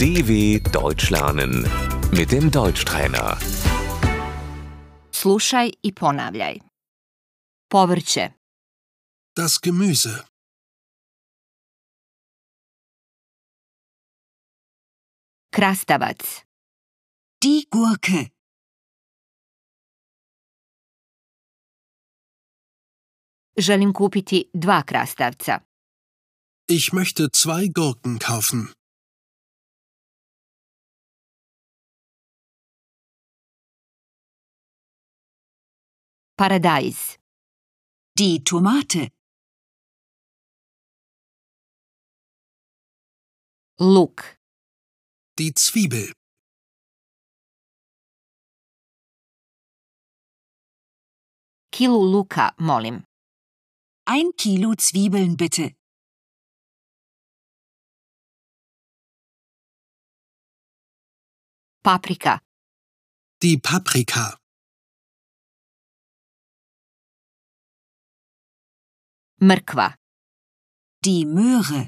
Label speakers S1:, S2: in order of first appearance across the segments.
S1: DW Deutsch lernen mit dem Deutschtrainer.
S2: Slušaj i ponavljaj. Povrće,
S3: Das Gemüse.
S2: krastavac,
S4: Die Gurke.
S2: želim kupiti dva krastavca,
S3: Ich möchte zwei Gurken kaufen.
S2: paradajz,
S4: Die Tomate.
S2: luk,
S3: Die Zwiebel.
S2: kilu luka, molim,
S4: Ein Kilo Zwiebeln bitte.
S2: paprika,
S3: Die Paprika.
S2: mrkva,
S4: Die Möhre.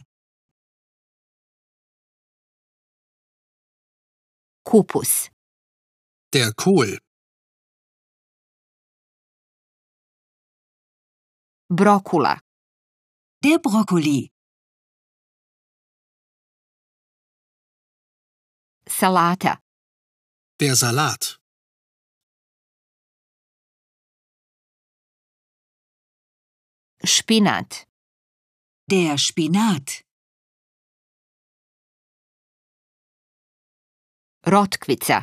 S2: kupus,
S3: Der Kohl.
S2: brokula,
S4: Der Brokkoli.
S2: salata,
S3: Der Salat.
S2: špinat,
S4: Der Spinat.
S2: rotkvica,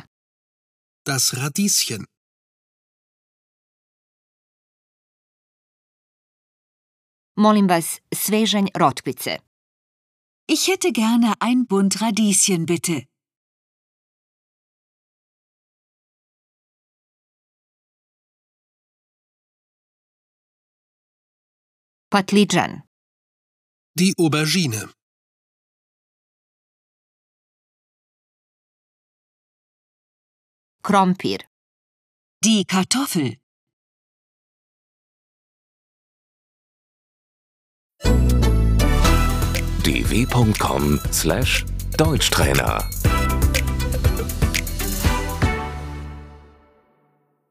S3: Das Radieschen.
S2: molim vas svežanj rotkvice,
S4: Ich hätte gerne ein Bund Radieschen bitte.
S2: patliđan,
S3: Die Aubergine.
S2: krompir,
S4: Die Kartoffel.
S1: dw.com/deutschtrainer